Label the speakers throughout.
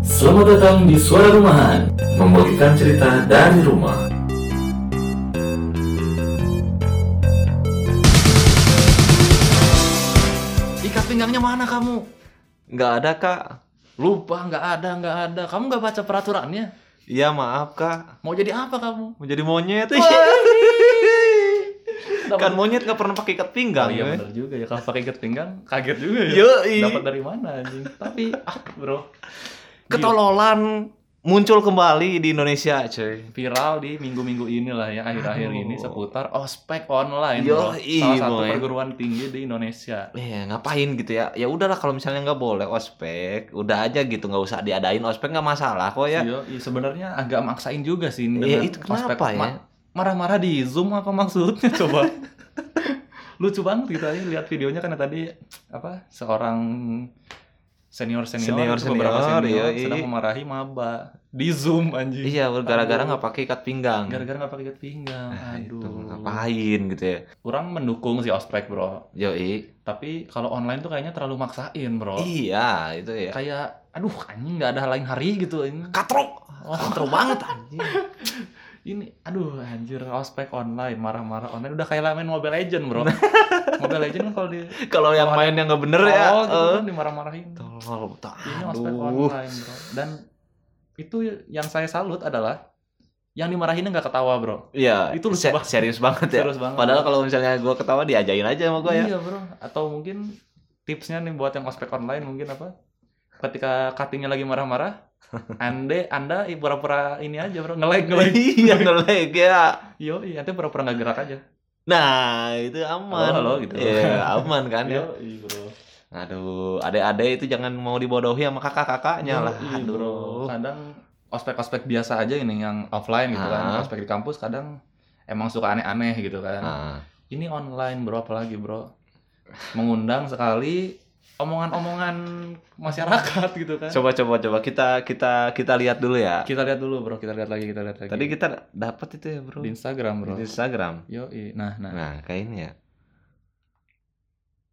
Speaker 1: Selamat datang di Suara Rumahan Membagikan cerita dari rumah
Speaker 2: Ikat pinggangnya mana kamu?
Speaker 3: Nggak ada kak.
Speaker 2: Lupa, nggak ada, nggak ada. Kamu nggak baca peraturannya.
Speaker 3: Iya maaf kak.
Speaker 2: Mau jadi apa kamu?
Speaker 3: Mau jadi monyet. kan monyet nggak pernah pakai ikat pinggang.
Speaker 2: Oh iya
Speaker 3: ya.
Speaker 2: bener juga ya. Kalau pakai ikat pinggang, kaget juga ya.
Speaker 3: Yoi.
Speaker 2: Dapat dari mana anjing? Tapi ah bro,
Speaker 3: Ketololan muncul kembali di Indonesia cuy.
Speaker 2: viral di minggu-minggu inilah ya akhir-akhir ini
Speaker 3: Aduh.
Speaker 2: seputar ospek online bro.
Speaker 3: Yoi,
Speaker 2: Salah satu
Speaker 3: boy.
Speaker 2: perguruan tinggi di Indonesia.
Speaker 3: Eh ngapain gitu ya? Ya udahlah kalau misalnya nggak boleh ospek, udah aja gitu nggak usah diadain ospek nggak masalah kok ya.
Speaker 2: Yoi, sebenarnya agak maksain juga sih dengan
Speaker 3: Iya itu kenapa ya?
Speaker 2: ma- marah-marah di Zoom apa maksudnya coba? Lucu banget kita ini lihat videonya karena tadi apa seorang senior senior,
Speaker 3: Senior-senior, iya, iya.
Speaker 2: sedang memarahi maba di Zoom anjing.
Speaker 3: Iya gara-gara
Speaker 2: Aduh.
Speaker 3: nggak pakai ikat pinggang.
Speaker 2: Gara-gara nggak pakai ikat pinggang.
Speaker 3: Nah, Iya. itu,
Speaker 2: Aduh.
Speaker 3: ngapain gitu ya?
Speaker 2: Kurang mendukung si ospek bro.
Speaker 3: Yoi.
Speaker 2: Tapi kalau online tuh kayaknya terlalu maksain bro.
Speaker 3: Iya itu ya.
Speaker 2: Kayak aduh anjing nggak ada lain hari gitu ini.
Speaker 3: Katrok.
Speaker 2: Oh,
Speaker 3: Katrok banget anjing.
Speaker 2: ini aduh anjir ospek online marah-marah online udah kayak main Mobile Legend bro Mobile Legend kan kalau di
Speaker 3: Kalau yang main yang nggak bener ya.
Speaker 2: oh, gitu
Speaker 3: eh.
Speaker 2: kan dimarah-marahin
Speaker 3: Tolol, tak.
Speaker 2: ini ospek
Speaker 3: Aduh.
Speaker 2: online bro dan itu yang saya salut adalah yang dimarahinnya nggak ketawa bro
Speaker 3: Iya,
Speaker 2: Itu lucu
Speaker 3: se-
Speaker 2: banget.
Speaker 3: serius banget ya.
Speaker 2: serius banget
Speaker 3: Padahal kalau misalnya gua ketawa diajain aja sama gua ya.
Speaker 2: iya bro atau mungkin tipsnya nih buat yang ospek online mungkin apa ketika cuttingnya lagi marah-marah ande anda i- pura-pura ini aja bro ngelag ngelag
Speaker 3: Iya, ngelag ya.
Speaker 2: yo iya nanti pura-pura nggak gerak aja
Speaker 3: Nah, itu aman.
Speaker 2: Halo, halo, gitu.
Speaker 3: Iya, aman kan ya.
Speaker 2: iya bro
Speaker 3: Aduh, adek-adek itu jangan mau dibodohi sama kakak-kakaknya lah.
Speaker 2: Yoi, iya, bro.
Speaker 3: Aduh.
Speaker 2: Kadang ospek-ospek biasa aja ini yang offline gitu
Speaker 3: Ah.
Speaker 2: kan. Ospek di kampus kadang emang suka aneh-aneh gitu kan.
Speaker 3: Nah,
Speaker 2: Ini online bro apalagi bro. Mengundang sekali omongan-omongan masyarakat gitu kan.
Speaker 3: coba coba coba kita kita kita lihat dulu ya.
Speaker 2: Kita lihat dulu bro, kita lihat lagi, kita lihat lagi.
Speaker 3: Tadi kita dapat itu ya, Bro.
Speaker 2: di Instagram bro.
Speaker 3: Di Instagram.
Speaker 2: Yo, nah, nah.
Speaker 3: Nah, kayak ini ya.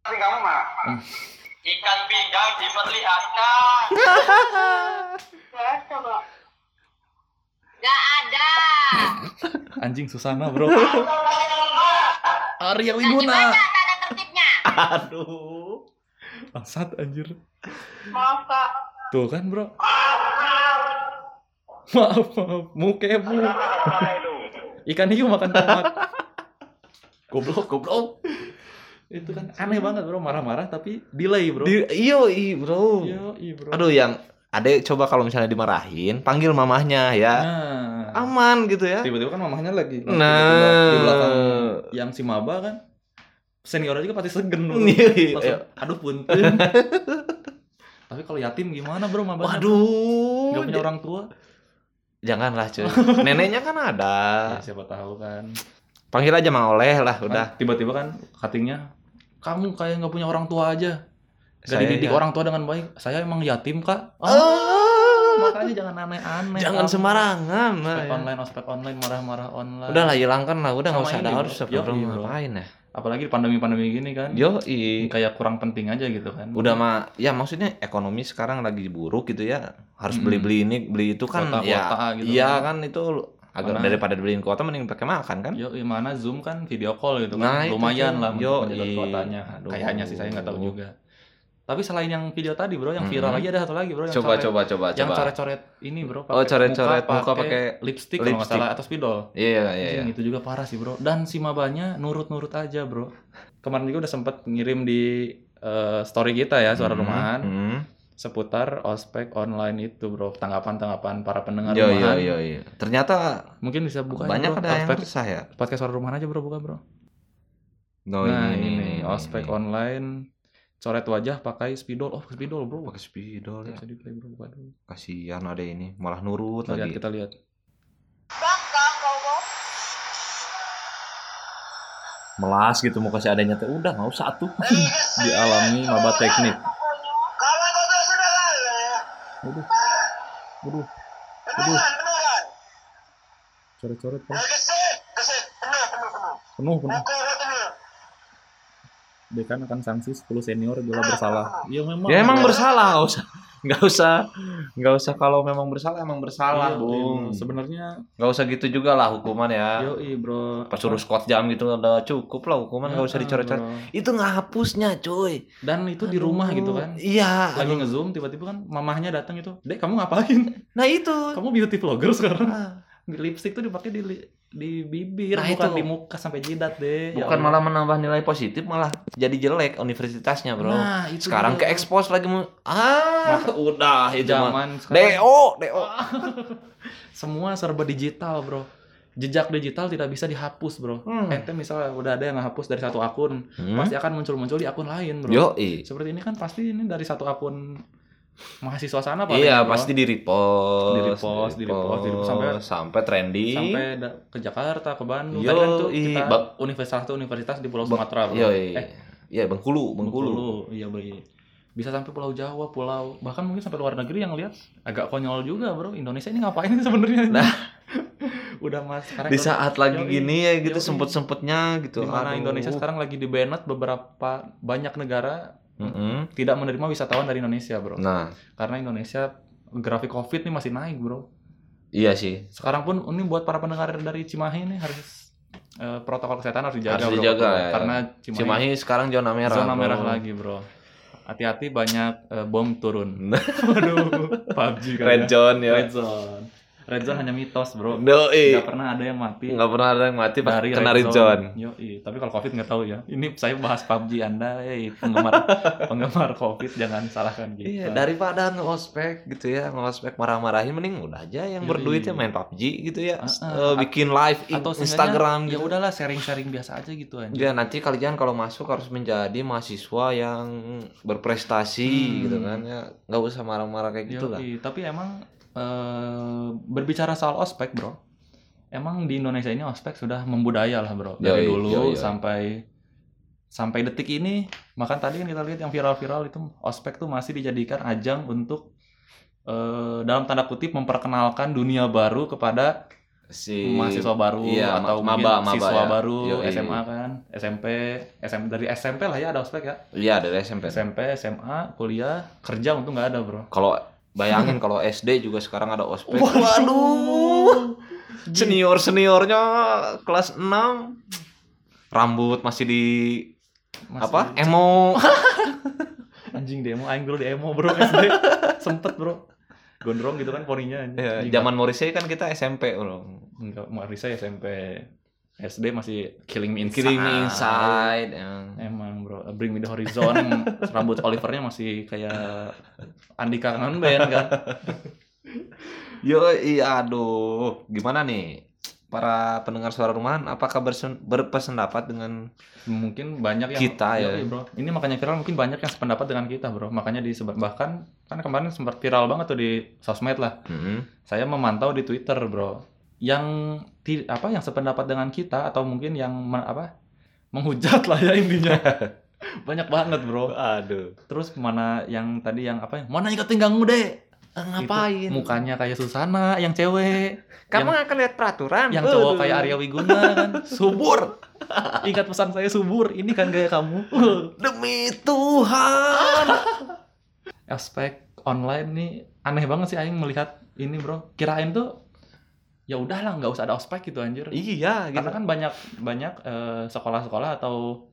Speaker 4: Tapi kamu mah
Speaker 2: Hmm.
Speaker 4: ikan pindang diperlihatkan.
Speaker 5: coba. Gak ada.
Speaker 2: Anjing Susana bro. Arya
Speaker 5: Nah, gimana
Speaker 2: Wiguna.
Speaker 5: tata tertibnya?
Speaker 3: Aduh.
Speaker 2: Bangsat anjir.
Speaker 5: Maaf kak.
Speaker 2: Tuh kan bro. Maaf, maaf. Mukemu. Ikan hiu makan tomat. goblok, goblok. Itu kan aneh banget bro, marah-marah tapi delay bro.
Speaker 3: Di, iyo, i, Bro.
Speaker 2: Yoi, bro.
Speaker 3: Aduh, yang adek coba kalau misalnya dimarahin, panggil mamahnya ya.
Speaker 2: Nah,
Speaker 3: aman gitu ya.
Speaker 2: tiba-tiba kan mamahnya lagi.
Speaker 3: Nah.
Speaker 2: Di belakang yang si maba kan seniornya juga pasti segen bro.
Speaker 3: Iya.
Speaker 2: Langsung, aduh punten. tapi kalau yatim gimana bro maba?
Speaker 3: Waduh.
Speaker 2: Gak punya orang tua?
Speaker 3: Janganlah cuy. Neneknya kan ada.
Speaker 2: Ya, siapa tahu kan.
Speaker 3: Panggil aja Mang Oleh lah
Speaker 2: Kan
Speaker 3: udah.
Speaker 2: tiba-tiba kan cuttingnya kamu kayak nggak punya orang tua aja gak
Speaker 3: Saya
Speaker 2: dididik
Speaker 3: ya.
Speaker 2: orang tua dengan baik saya emang yatim kak
Speaker 3: Ah,
Speaker 2: Ah, makanya jangan aneh-aneh
Speaker 3: jangan
Speaker 2: kamu.
Speaker 3: sembarangan. lah
Speaker 2: ospek
Speaker 3: ya.
Speaker 2: online ospek online marah-marah online
Speaker 3: Udah lah hilangkan lah, udah nggak
Speaker 2: Sama
Speaker 3: usah ada
Speaker 2: ini,
Speaker 3: harus
Speaker 2: Bro.
Speaker 3: sebelum
Speaker 2: Yoi, Bro.
Speaker 3: ngapain ya.
Speaker 2: apalagi di pandemi-pandemi gini kan
Speaker 3: Yo,
Speaker 2: kayak kurang penting aja gitu kan
Speaker 3: udah mah ya maksudnya ekonomi sekarang lagi buruk gitu ya. Harus
Speaker 2: Mm-mm.
Speaker 3: beli-beli ini, beli itu kan
Speaker 2: Kuota-kuota
Speaker 3: ya.
Speaker 2: Hmm. gitu
Speaker 3: iya
Speaker 2: kan.
Speaker 3: kan itu agar
Speaker 2: Karena-
Speaker 3: daripada beliin kuota mending pakai makan kan.
Speaker 2: yo mana zoom kan video call gitu
Speaker 3: Nah,
Speaker 2: kan
Speaker 3: itu
Speaker 2: lumayan
Speaker 3: tuh.
Speaker 2: lah
Speaker 3: Yoi.
Speaker 2: untuk menjaga kuotanya
Speaker 3: Aduh.
Speaker 2: kayaknya sih saya nggak tahu juga tapi selain yang video tadi bro yang viral
Speaker 3: Mm-mm.
Speaker 2: lagi ada satu lagi bro yang
Speaker 3: Coba
Speaker 2: coret-
Speaker 3: coba coba
Speaker 2: yang
Speaker 3: coba.
Speaker 2: coret-coret ini bro
Speaker 3: Oh, coret-coret muka pakai
Speaker 2: lipstick kalau nggak
Speaker 3: lipstick.
Speaker 2: salah atau spidol
Speaker 3: Iya iya iya.
Speaker 2: Anjing, itu juga parah sih bro dan si mabanya nurut-nurut aja bro kemarin juga udah sempet ngirim di eh, story kita ya suara
Speaker 3: Mm,
Speaker 2: rumahan
Speaker 3: mm.
Speaker 2: seputar ospek online itu bro tanggapan-tanggapan para pendengar
Speaker 3: Yo yo
Speaker 2: rumahan
Speaker 3: yo yo. iya, Ternyata
Speaker 2: mungkin bisa buka aja,
Speaker 3: banyak
Speaker 2: bro.
Speaker 3: ada yang
Speaker 2: ospek
Speaker 3: resah ya.
Speaker 2: podcast suara rumahan aja bro buka bro
Speaker 3: No,
Speaker 2: nah
Speaker 3: ini,
Speaker 2: ini, nih, ospek
Speaker 3: ini.
Speaker 2: online coret wajah pakai spidol oh spidol bro
Speaker 3: pakai spidol ya.
Speaker 2: bisa di play bro buka dulu
Speaker 3: Kasihan ada ini, malah nurut
Speaker 2: kita lihat
Speaker 3: lagi.
Speaker 2: kita lihat
Speaker 5: Bangkang kau kau.
Speaker 3: Melas gitu mau kasih adanya teh udah nggak usah tuh.
Speaker 2: dialami maba teknik
Speaker 4: Iya, Kalau kau tuh sudah lalu,
Speaker 2: Waduh, waduh,
Speaker 4: penuhan, penuhan.
Speaker 2: coret-coret bro.
Speaker 4: Ya, Gesit, gesit, penuh, penuh, penuh.
Speaker 2: penuh penuh
Speaker 4: Pukul kau penuh.
Speaker 2: kan dekan akan sanksi 10 senior bila bersalah. Iya memang.
Speaker 3: Ya emang bersalah nggak usah nggak usah nggak usah kalau memang bersalah emang bersalah
Speaker 2: Iya,
Speaker 3: bung
Speaker 2: Bung. Sebenarnya
Speaker 3: nggak usah gitu juga lah hukuman ya
Speaker 2: yoi bro.
Speaker 3: pas suruh squat jam gitu udah cukup lah hukuman nggak usah
Speaker 2: Ah,
Speaker 3: dicoret-coret
Speaker 2: bro.
Speaker 3: itu ngehapusnya cuy
Speaker 2: Dan itu di
Speaker 3: Aduh.
Speaker 2: rumah gitu kan.
Speaker 3: iya
Speaker 2: Lagi ngezoom tiba-tiba kan mamahnya datang itu. Dek kamu ngapain?
Speaker 3: nah itu
Speaker 2: Kamu beauty vlogger sekarang.
Speaker 3: Ah,
Speaker 2: Lipstick tuh dipakai di li- di bibir
Speaker 3: Nah,
Speaker 2: bukan
Speaker 3: itu.
Speaker 2: di muka sampai jidat deh. Ya
Speaker 3: bukan
Speaker 2: Allah.
Speaker 3: malah menambah nilai positif malah jadi jelek universitasnya bro
Speaker 2: Nah, itu
Speaker 3: sekarang ke
Speaker 2: dia.
Speaker 3: expose lagi mu- ah
Speaker 2: Maka-
Speaker 3: udah itu mah
Speaker 2: zaman sekarang
Speaker 3: do do
Speaker 2: semua serba digital, bro. Jejak digital tidak bisa dihapus, bro.
Speaker 3: Hmm.
Speaker 2: Ente misalnya udah ada yang ngehapus dari satu akun,
Speaker 3: hmm?
Speaker 2: pasti akan muncul-muncul di akun lain, bro.
Speaker 3: yo
Speaker 2: Seperti ini kan pasti ini dari satu akun mahasiswa sana paling,
Speaker 3: iya
Speaker 2: bro.
Speaker 3: pasti di repost
Speaker 2: Di repost, di repost, di repost, sampai-
Speaker 3: sampai trending
Speaker 2: sampai da- ke Jakarta, ke Bandung. Tadi kan tuh
Speaker 3: Yoi,
Speaker 2: kita
Speaker 3: bak-
Speaker 2: universitas tuh universitas di Pulau
Speaker 3: Bak-
Speaker 2: Sumatera, bro.
Speaker 3: yo
Speaker 2: Eh,
Speaker 3: iya Bengkulu Bengkulu,
Speaker 2: Iya, bro. Bisa sampai Pulau Jawa, Pulau bahkan mungkin sampai luar negeri yang lihat agak konyol juga, bro. Indonesia ini ngapain sih sebenarnya?
Speaker 3: Nah.
Speaker 2: udah mas. sekarang
Speaker 3: di saat lagi
Speaker 2: Yoi,
Speaker 3: gini ya gitu
Speaker 2: yoi.
Speaker 3: sempet sempetnya gitu
Speaker 2: di mana
Speaker 3: Aduh.
Speaker 2: Indonesia sekarang lagi di banned beberapa banyak negara
Speaker 3: Mm-mm.
Speaker 2: tidak menerima wisatawan dari Indonesia, bro.
Speaker 3: nah
Speaker 2: Karena Indonesia grafik COVID nih masih naik, bro.
Speaker 3: iya sih
Speaker 2: Sekarang pun ini buat para pendengar dari Cimahi nih harus eh, protokol kesehatan harus dijaga,
Speaker 3: Harus
Speaker 2: bro.
Speaker 3: dijaga, ya.
Speaker 2: Karena Cimahi,
Speaker 3: Cimahi sekarang zona merah
Speaker 2: zona
Speaker 3: bro.
Speaker 2: merah lagi, bro. Hati-hati banyak eh, bom turun. Waduh, PUBG kan
Speaker 3: Nah. red zone
Speaker 2: ya.
Speaker 3: ya
Speaker 2: Red zone. Red zone hanya mitos, bro.
Speaker 3: doi
Speaker 2: Nggak pernah ada yang mati.
Speaker 3: nggak pernah ada yang mati pas
Speaker 2: dari
Speaker 3: kena
Speaker 2: red
Speaker 3: red zone
Speaker 2: Yoi. tapi kalau covid nggak tahu ya. Ini saya bahas PUBG Anda, eh penggemar penggemar covid jangan salahkan gitu.
Speaker 3: Iya, daripada ngospek gitu ya, ngospek marah-marahin mending udah aja yang
Speaker 2: Yoi.
Speaker 3: berduitnya main PUBG gitu ya,
Speaker 2: Ah,
Speaker 3: s-
Speaker 2: ah.
Speaker 3: eh, bikin live i-
Speaker 2: iya. atau
Speaker 3: Instagram
Speaker 2: ya
Speaker 3: gitu.
Speaker 2: udahlah sharing-sharing biasa aja gitu aja.
Speaker 3: Ya nanti kalian kalau masuk harus menjadi mahasiswa yang berprestasi
Speaker 2: Hmm.
Speaker 3: gitu kan ya, nggak usah marah-marah kayak gitu lah.
Speaker 2: Yoi, tapi emang eh, berbicara soal ospek, Bro. Emang di Indonesia ini ospek sudah membudaya lah, Bro. Dari
Speaker 3: Yoi,
Speaker 2: dulu
Speaker 3: yoi, yoi.
Speaker 2: sampai sampai detik ini, bahkan tadi kan kita lihat yang viral-viral itu ospek tuh masih dijadikan ajang untuk eh, dalam tanda kutip memperkenalkan dunia baru kepada
Speaker 3: Si
Speaker 2: mahasiswa baru
Speaker 3: iya, ma-
Speaker 2: atau mungkin
Speaker 3: maba- maba
Speaker 2: siswa
Speaker 3: ya.
Speaker 2: baru
Speaker 3: Yoi.
Speaker 2: SMA kan, SMP, SMP dari SMP lah ya ada ospek ya.
Speaker 3: Iya dari SMP.
Speaker 2: SMP, SMA, kuliah, kerja untung nggak ada, Bro.
Speaker 3: Kalau bayangin kalau SD juga sekarang ada ospek.
Speaker 2: Waduh.
Speaker 3: Senior seniornya kelas 6 rambut masih di
Speaker 2: Masih-
Speaker 3: apa? Emo.
Speaker 2: anjing demo aing dulu di emo bro SD sempet bro gondrong gitu kan poninya anjing.
Speaker 3: Ya,
Speaker 2: Anjing,
Speaker 3: zaman Morrissey kan kita SMP bro.
Speaker 2: enggak Marisa SMP SD masih killing me inside
Speaker 3: Killing Me Inside. ya. yang-
Speaker 2: emang bro bring me the horizon rambut Olivernya masih kayak Andika kangen band kan
Speaker 3: Yo, iya, aduh. Gimana nih? Para pendengar suara rumahan, apakah bersen- berpendapat dengan
Speaker 2: mungkin banyak yang
Speaker 3: Kita, ya.
Speaker 2: Yoi, bro ini makanya viral mungkin banyak yang sependapat dengan kita bro makanya di bahkan kan kemarin sempat viral banget tuh di sosmed lah
Speaker 3: Hmm,
Speaker 2: saya memantau di Twitter, bro. Yang ti- apa yang sependapat dengan kita atau mungkin yang me- apa menghujat lah ya intinya. Banyak banget, bro. Aduh. Terus mana yang tadi yang apa? Mana ikat pinggangmu, Dek? Eh,
Speaker 3: ngapain?
Speaker 2: Itu, mukanya kayak Susana yang cewek,
Speaker 3: Kamu akan lihat peraturan.
Speaker 2: yang cowok
Speaker 3: Aduh.
Speaker 2: kayak Arya Wiguna kan. subur. Ingat pesan saya subur, ini kan gaya kamu.
Speaker 3: Demi Tuhan.
Speaker 2: aspek online nih aneh banget sih aing melihat ini, bro. Kirain tuh ya udahlah nggak usah ada ospek gitu anjir.
Speaker 3: iya, gitu.
Speaker 2: karena kan banyak banyak eh, sekolah-sekolah atau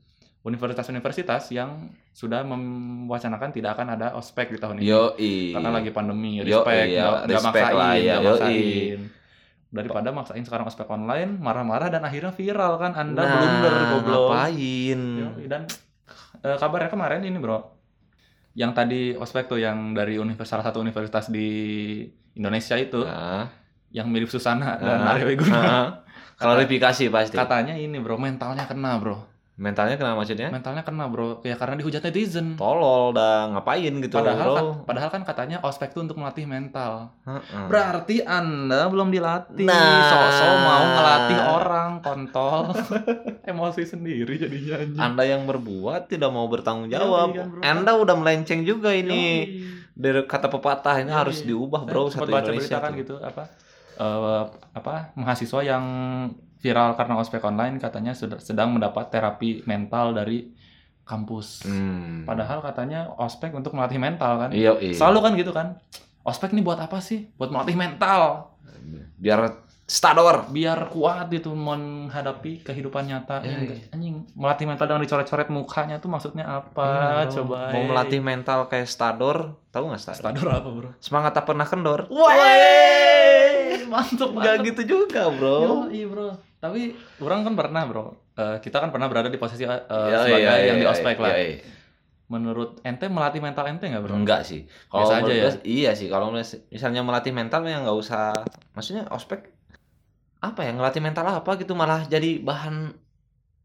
Speaker 2: universitas-universitas yang sudah mewacanakan tidak akan ada ospek di tahun ini
Speaker 3: Yo,
Speaker 2: karena lagi pandemi
Speaker 3: Yo,
Speaker 2: respect
Speaker 3: iya,
Speaker 2: nggak nggak
Speaker 3: respect
Speaker 2: maksain
Speaker 3: lah,
Speaker 2: nggak
Speaker 3: iya, yo,
Speaker 2: maksain daripada maksain sekarang ospek online marah-marah dan akhirnya viral kan anda
Speaker 3: Nah,
Speaker 2: blunder goblok
Speaker 3: Ngapain?
Speaker 2: Yoi, dan eh, kabarnya kemarin ini bro yang tadi ospek tuh yang dari universitas salah satu universitas di Indonesia itu
Speaker 3: Nah,
Speaker 2: yang mirip Susana dan
Speaker 3: Nah.
Speaker 2: Arya Wiguna
Speaker 3: nah. klarifikasi pasti.
Speaker 2: Katanya ini bro, mentalnya kena bro.
Speaker 3: Mentalnya kenapa maksudnya?
Speaker 2: Mentalnya kena bro, ya karena dihujat netizen.
Speaker 3: Tolol dah, ngapain gitu
Speaker 2: Padahal
Speaker 3: bro.
Speaker 2: kan, padahal kan katanya ospek itu untuk melatih mental.
Speaker 3: Heeh.
Speaker 2: Berarti anda belum dilatih.
Speaker 3: Nah.
Speaker 2: Sok-sok mau ngelatih orang kontol. Emosi sendiri jadinya. anjing.
Speaker 3: Anda yang berbuat tidak mau bertanggung
Speaker 2: Yoi,
Speaker 3: jawab.
Speaker 2: kan, bro.
Speaker 3: Anda udah melenceng juga ini.
Speaker 2: Yoi.
Speaker 3: Dari kata pepatah ini
Speaker 2: Yoi.
Speaker 3: harus diubah,
Speaker 2: Saya
Speaker 3: Bro,
Speaker 2: Iya. sempat
Speaker 3: satu
Speaker 2: baca
Speaker 3: Indonesia.
Speaker 2: berita kan
Speaker 3: tuh.
Speaker 2: gitu apa? eh, apa mahasiswa yang viral karena ospek online katanya sudah sedang mendapat terapi mental dari kampus.
Speaker 3: Hmm.
Speaker 2: Padahal katanya ospek untuk melatih mental kan.
Speaker 3: Iya, iya.
Speaker 2: Selalu kan gitu kan. Ospek nih buat apa sih? Buat melatih mental.
Speaker 3: biar stador.
Speaker 2: Biar kuat gitu menghadapi kehidupan nyata.
Speaker 3: Iya,
Speaker 2: Ya,
Speaker 3: iya.
Speaker 2: Anjing, melatih mental dengan dicoret-coret mukanya tuh maksudnya
Speaker 3: Iya,
Speaker 2: apa?
Speaker 3: dong.
Speaker 2: Coba.
Speaker 3: Mau
Speaker 2: eh.
Speaker 3: melatih mental kayak stador, tahu nggak stador?
Speaker 2: Stador apa, Bro?
Speaker 3: Semangat tak pernah kendor.
Speaker 2: Wey, mantep
Speaker 3: Nggak
Speaker 2: banget.
Speaker 3: gitu juga, bro.
Speaker 2: Iya, bro. Tapi orang kan pernah, Bro. Eh, kita kan pernah berada di posisi eh,
Speaker 3: Iya,
Speaker 2: sebagai
Speaker 3: iya, iya,
Speaker 2: yang di
Speaker 3: iya,
Speaker 2: ospek
Speaker 3: iya,
Speaker 2: lah.
Speaker 3: iya.
Speaker 2: Menurut ente melatih mental ente nggak, Bro?
Speaker 3: Enggak sih.
Speaker 2: Biasa
Speaker 3: menurut
Speaker 2: aja
Speaker 3: gue- Iya sih. Kalau mis- misalnya melatih mental ya nggak usah. Maksudnya ospek apa ya ngelatih mental apa gitu malah jadi bahan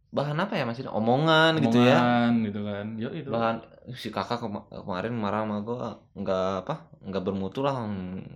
Speaker 3: bahan apa ya maksudnya omongan, gitu ya.
Speaker 2: Omongan gitu kan. Yo itu.
Speaker 3: Bahan si kakak kema- kemarin marah sama gua nggak apa nggak bermutu lah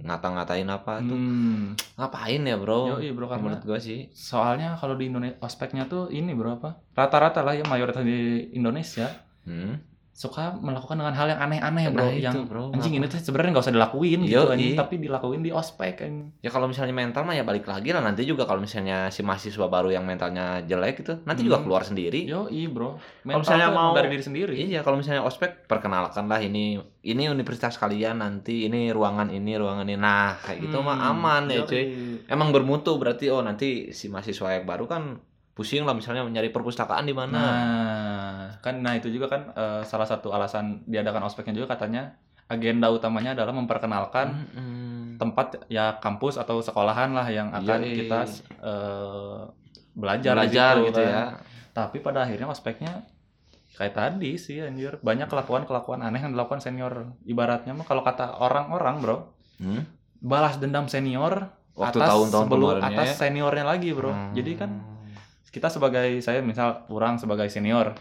Speaker 3: ngata-ngatain apa tuh
Speaker 2: Hmm.
Speaker 3: ngapain ya bro?
Speaker 2: Yoi, bro, karena-
Speaker 3: menurut gua sih
Speaker 2: Soalnya kalau di Indonesia ospeknya tuh ini berapa? Rata-rata lah ya mayoritas di Indonesia
Speaker 3: Hmm.
Speaker 2: suka melakukan dengan hal yang aneh-aneh bro,
Speaker 3: Nah, itu,
Speaker 2: yang
Speaker 3: bro,
Speaker 2: anjing ini tuh sebenarnya nggak usah dilakuin gitu
Speaker 3: Yoi.
Speaker 2: anjing, tapi dilakuin di ospek anjing.
Speaker 3: Ya kalau misalnya mental mah ya balik lagi lah nanti juga kalau misalnya si mahasiswa baru yang mentalnya jelek gitu nanti juga
Speaker 2: Hmm.
Speaker 3: keluar sendiri.
Speaker 2: Yo i bro,
Speaker 3: Kalau
Speaker 2: mental
Speaker 3: misalnya
Speaker 2: tuh
Speaker 3: mau-
Speaker 2: dari diri sendiri.
Speaker 3: Iya kalau misalnya ospek perkenalkan lah ini ini universitas kalian nanti ini ruangan ini ruangan ini nah kayak gitu mah
Speaker 2: Hmm,
Speaker 3: aman ya
Speaker 2: yoi.
Speaker 3: cuy. Emang bermutu berarti oh nanti si mahasiswa yang baru kan pusing lah misalnya mencari perpustakaan di mana.
Speaker 2: Nah, kan nah itu juga kan eh, salah satu alasan diadakan ospeknya juga katanya agenda utamanya adalah
Speaker 3: kan? Hmm.
Speaker 2: memperkenalkan
Speaker 3: Mm-mm.
Speaker 2: tempat ya kampus atau sekolahan lah yang akan
Speaker 3: Yoi.
Speaker 2: kita eh, belajar, di
Speaker 3: belajar
Speaker 2: situ,
Speaker 3: gitu
Speaker 2: kan.
Speaker 3: ya.
Speaker 2: Tapi pada akhirnya ospeknya kayak tadi sih anjir, banyak kelakuan-kelakuan aneh yang dilakukan senior. Ibaratnya mah kalau kata orang-orang, Bro,
Speaker 3: Hmm?
Speaker 2: balas dendam senior
Speaker 3: Waktu
Speaker 2: atas
Speaker 3: tahun-tahun
Speaker 2: sebelum
Speaker 3: kemarin
Speaker 2: atas
Speaker 3: ya.
Speaker 2: seniornya lagi, Bro.
Speaker 3: Hmm.
Speaker 2: Jadi kan kita sebagai saya misal orang sebagai senior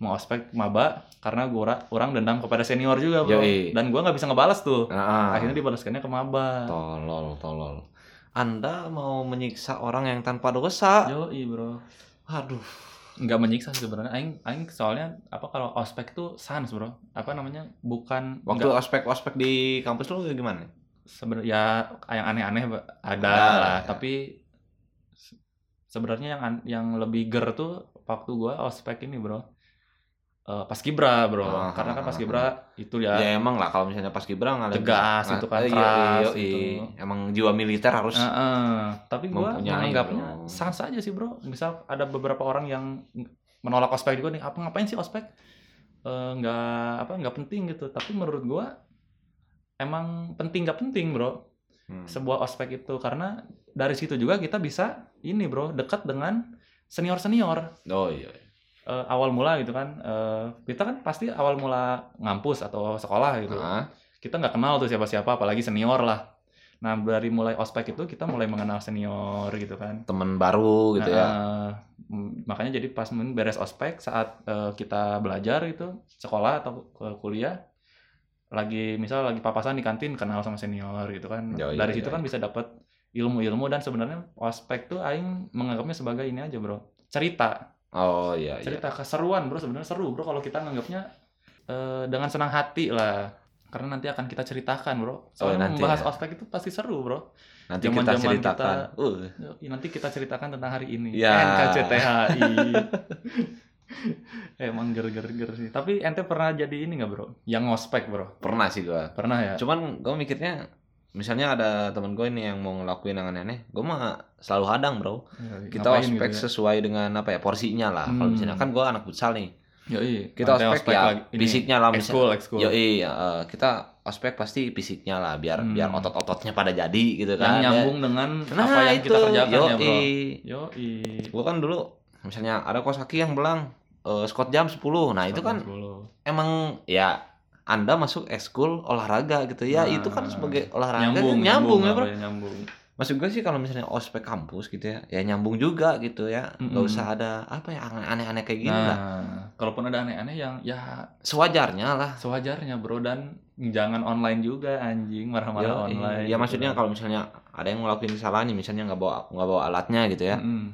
Speaker 2: mau ospek maba karena gua orang dendam kepada senior juga, Bro.
Speaker 3: Yoi.
Speaker 2: Dan gua nggak bisa ngebalas tuh.
Speaker 3: Ah, ah.
Speaker 2: Akhirnya dibalaskannya ke maba.
Speaker 3: Tolol, tolol. Anda mau menyiksa orang yang tanpa dosa?
Speaker 2: Yoi, Bro.
Speaker 3: Aduh.
Speaker 2: nggak menyiksa sih sebenarnya aing aing soalnya apa kalau ospek tuh sans bro apa namanya bukan
Speaker 3: Waktu
Speaker 2: nggak-
Speaker 3: ospek-ospek di kampus lu gimana?
Speaker 2: sebenarnya ya yang aneh-aneh ba- ada
Speaker 3: Ada,
Speaker 2: lah
Speaker 3: ya.
Speaker 2: tapi se- sebenarnya yang an- yang lebih ger tuh waktu gua ospek ini bro Eh pas kibra bro
Speaker 3: Ah,
Speaker 2: karena kan
Speaker 3: ah,
Speaker 2: pas
Speaker 3: ah,
Speaker 2: kibra itu
Speaker 3: Ya,
Speaker 2: ya
Speaker 3: emang lah kalau misalnya pas kibra ngalahin
Speaker 2: Tegas gitu kan,
Speaker 3: iya,
Speaker 2: keras
Speaker 3: iya, iya.
Speaker 2: gitu.
Speaker 3: Emang jiwa militer harus
Speaker 2: eh, eh. tapi gua
Speaker 3: mempunyai,
Speaker 2: menganggapnya
Speaker 3: bro.
Speaker 2: sans aja sih bro misal ada beberapa orang yang menolak ospek juga nih apa ngapain sih ospek Eh, nggak apa nggak penting gitu tapi menurut gua emang penting nggak penting bro
Speaker 3: Hmm.
Speaker 2: sebuah ospek itu karena dari situ juga kita bisa ini bro dekat dengan senior senior
Speaker 3: Oh iya.
Speaker 2: awal mula gitu kan Eh, kita kan pasti awal mula ngampus atau sekolah gitu
Speaker 3: Ah,
Speaker 2: kita nggak kenal tuh siapa siapa apalagi senior lah nah dari mulai ospek itu kita mulai mengenal senior gitu kan
Speaker 3: temen baru gitu ya.
Speaker 2: Nah, eh, m- makanya jadi pas men- beres ospek saat eh, kita belajar gitu sekolah atau ku- kuliah lagi misal lagi papasan di kantin kenal sama senior gitu kan
Speaker 3: Yoi,
Speaker 2: dari
Speaker 3: yoi,
Speaker 2: situ kan bisa dapat ilmu-ilmu dan sebenarnya ospek tuh aing menganggapnya sebagai ini aja bro cerita
Speaker 3: Oh iya. iya.
Speaker 2: cerita keseruan bro sebenarnya seru bro kalau kita nganggapnya eh, dengan senang hati lah karena nanti akan kita ceritakan bro soalnya
Speaker 3: nanti
Speaker 2: membahas
Speaker 3: ya.
Speaker 2: ospek itu pasti seru bro
Speaker 3: Nanti kita
Speaker 2: zaman-zaman
Speaker 3: ceritakan. Uh,
Speaker 2: Yoi, Ya, nanti kita ceritakan tentang hari ini.
Speaker 3: Ya.
Speaker 2: NKCTHI. Emang ger-ger-ger sih. Tapi ente pernah jadi ini nggak bro? Yang ngospek bro?
Speaker 3: pernah sih gua.
Speaker 2: Pernah ya?
Speaker 3: Cuman gua mikirnya misalnya ada temen gue ini yang mau ngelakuin yang aneh-aneh, gue mah selalu hadang bro. Kita
Speaker 2: Ngapain
Speaker 3: ospek
Speaker 2: gitu
Speaker 3: sesuai dengan apa ya porsinya lah. Kalau
Speaker 2: Hmm.
Speaker 3: misalnya kan gue anak futsal nih,
Speaker 2: ya? Yoi.
Speaker 3: kita
Speaker 2: Nanti
Speaker 3: ospek, ya
Speaker 2: lagi. Ini,
Speaker 3: fisiknya lah misalnya.
Speaker 2: Ekskul, ekskul.
Speaker 3: Yoi, eh, kita ospek pasti fisiknya lah, biar
Speaker 2: Hmm.
Speaker 3: biar otot-ototnya pada jadi gitu
Speaker 2: Yang
Speaker 3: kan. ya.
Speaker 2: nyambung dengan
Speaker 3: Nah,
Speaker 2: apa yang
Speaker 3: itu.
Speaker 2: kita kerjakan ya bro?
Speaker 3: Yoi.
Speaker 2: Yoi.
Speaker 3: Gua kan dulu misalnya ada kos kaki yang belang eh, Scott jam 10. Nah, itu kan emang ya Anda masuk ekskul olahraga gitu ya.
Speaker 2: Nah,
Speaker 3: itu kan sebagai olahraga kan
Speaker 2: nyambung,
Speaker 3: nyambung, ya, Bro.
Speaker 2: apa Nyambung.
Speaker 3: Maksud gue sih kalau misalnya ospek kampus gitu ya, ya nyambung juga gitu ya. nggak
Speaker 2: Mm-mm.
Speaker 3: usah ada apa ya aneh-aneh kayak gini lah.
Speaker 2: Nah, kalaupun ada aneh-aneh yang ya
Speaker 3: Sewajarnya lah.
Speaker 2: sewajarnya bro dan jangan online juga anjing marah-marah
Speaker 3: Yo, iya.
Speaker 2: online.
Speaker 3: ya
Speaker 2: gitu
Speaker 3: maksudnya
Speaker 2: kan.
Speaker 3: kalau misalnya ada yang ngelakuin kesalahan nih, misalnya nggak bawa nggak bawa alatnya gitu ya.
Speaker 2: Mm-mm.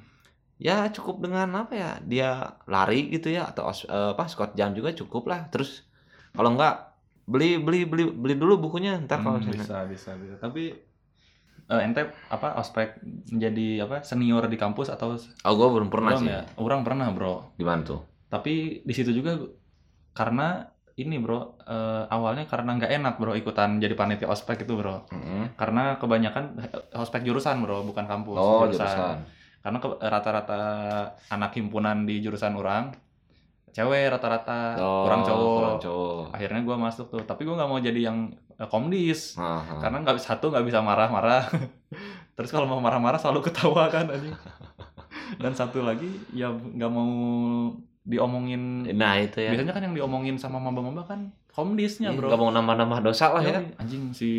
Speaker 3: ya cukup dengan apa ya dia lari gitu ya atau os- eh, apa squat jam juga cukup lah terus kalau enggak beli beli beli beli dulu bukunya ntar kalau
Speaker 2: Hmm,
Speaker 3: misalnya
Speaker 2: bisa bisa bisa tapi eh, ente apa ospek menjadi apa senior di kampus atau
Speaker 3: oh gue belum pernah
Speaker 2: belum
Speaker 3: sih
Speaker 2: ya orang pernah bro
Speaker 3: gimana tuh
Speaker 2: tapi di situ juga karena ini bro eh, awalnya karena nggak enak bro ikutan jadi panitia ospek itu bro
Speaker 3: Mm-mm.
Speaker 2: karena kebanyakan eh, ospek jurusan bro bukan kampus
Speaker 3: Oh, jurusan.
Speaker 2: karena ke- rata-rata anak himpunan di jurusan orang cewek rata-rata
Speaker 3: Oh,
Speaker 2: kurang cowok
Speaker 3: Kurang cowok.
Speaker 2: akhirnya gua masuk tuh tapi gua nggak mau jadi yang eh, komdis
Speaker 3: Aha.
Speaker 2: karena nggak satu nggak bisa marah-marah terus kalau mau marah-marah selalu ketawa kan anjing dan satu lagi ya nggak mau diomongin
Speaker 3: nah itu ya.
Speaker 2: biasanya kan yang diomongin sama maba-maba kan komdisnya bro Iya.
Speaker 3: Gak Iya, mau nambah-nambah dosa lah ya.
Speaker 2: Yoi, anjing si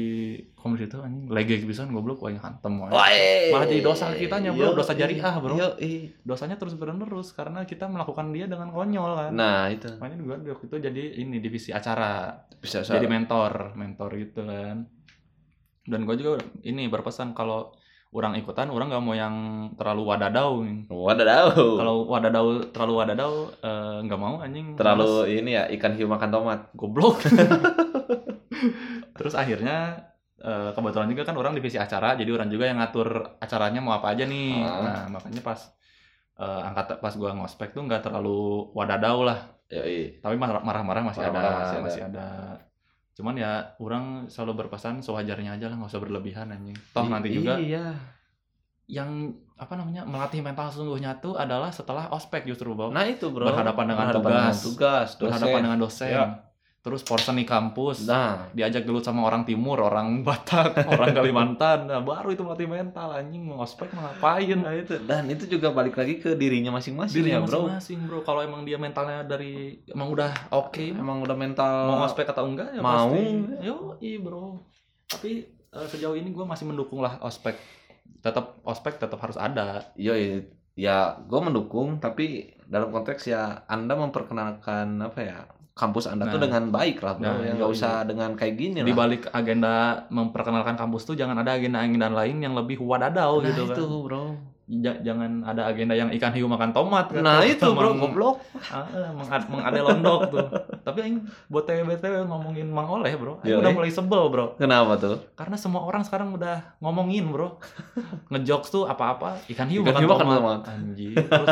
Speaker 2: komdis itu anjing legek bisa goblok wah hantem wah.
Speaker 3: Wah,
Speaker 2: Malah jadi dosa kitanya, bro. Dosa jariah, bro.
Speaker 3: Yo,
Speaker 2: dosanya terus bernerus karena kita melakukan dia dengan konyol kan
Speaker 3: Nah itu
Speaker 2: makanya gua waktu itu jadi ini divisi acara
Speaker 3: bisa
Speaker 2: jadi mentor mentor gitu kan dan gue juga ini berpesan kalau orang ikutan orang nggak mau yang terlalu wadadau nih.
Speaker 3: Waduh,
Speaker 2: kalau wadadau terlalu wadadau eh, nggak mau anjing
Speaker 3: terlalu ini ya ikan hiu makan
Speaker 2: males,
Speaker 3: tomat.
Speaker 2: goblok terus akhirnya eh, kebetulan juga kan orang divisi acara jadi orang juga yang ngatur acaranya mau apa aja nih
Speaker 3: Ah.
Speaker 2: nah makanya pas eh, angkat pas gua ngospek tuh nggak terlalu wadadau lah
Speaker 3: Yoi.
Speaker 2: tapi marah- marah-marah masih, ada,
Speaker 3: Marah-marah masih
Speaker 2: masih
Speaker 3: ada.
Speaker 2: ada cuman ya orang selalu berpesan sewajarnya aja lah nggak usah berlebihan anjing toh
Speaker 3: I-
Speaker 2: nanti juga
Speaker 3: Iya.
Speaker 2: yang apa namanya melatih mental sesungguhnya tuh adalah setelah ospek justru bro
Speaker 3: Nah itu bro.
Speaker 2: Berhadapan dengan tugas.
Speaker 3: tugas, dosen.
Speaker 2: berhadapan dengan dosen
Speaker 3: Ya.
Speaker 2: terus porsen di kampus
Speaker 3: Nah,
Speaker 2: diajak gelut sama orang timur orang batak orang kalimantan nah, baru itu melatih mental anjing mau ospek mau ngapain
Speaker 3: nah itu dan itu juga balik lagi ke dirinya masing-masing
Speaker 2: dirinya
Speaker 3: ya bro.
Speaker 2: masing-masing bro kalau emang dia mentalnya dari emang udah oke
Speaker 3: Emang udah mental.
Speaker 2: mau ospek atau enggak ya
Speaker 3: Mau.
Speaker 2: pasti yo bro tapi eh, sejauh ini gue masih mendukung lah ospek tetap ospek tetap harus ada
Speaker 3: Yoi. Ya, gue mendukung tapi dalam konteks ya Anda memperkenalkan apa ya kampus Anda tuh
Speaker 2: Nah.
Speaker 3: dengan baik lah bro.
Speaker 2: Nah,
Speaker 3: ya
Speaker 2: yoi.
Speaker 3: nggak usah dengan kayak gini
Speaker 2: di
Speaker 3: lah.
Speaker 2: balik agenda memperkenalkan kampus tuh jangan ada agenda agenda lain yang lebih wadadau
Speaker 3: nah
Speaker 2: gitu kan
Speaker 3: itu bro.
Speaker 2: Ja- jangan ada agenda yang ikan hiu makan tomat kan.
Speaker 3: Nah
Speaker 2: Terus
Speaker 3: itu bro,
Speaker 2: meng-
Speaker 3: goblok.
Speaker 2: ah, eh, mengad- mengade londok tuh tapi yang buat TW BTW ngomongin mang oleh bro aing
Speaker 3: Yoi.
Speaker 2: udah mulai sebel bro
Speaker 3: Kenapa tuh?
Speaker 2: karena semua orang sekarang udah ngomongin bro ngejokes tuh apa-apa ikan hiu
Speaker 3: Ikan hiu makan tomat.
Speaker 2: anjir terus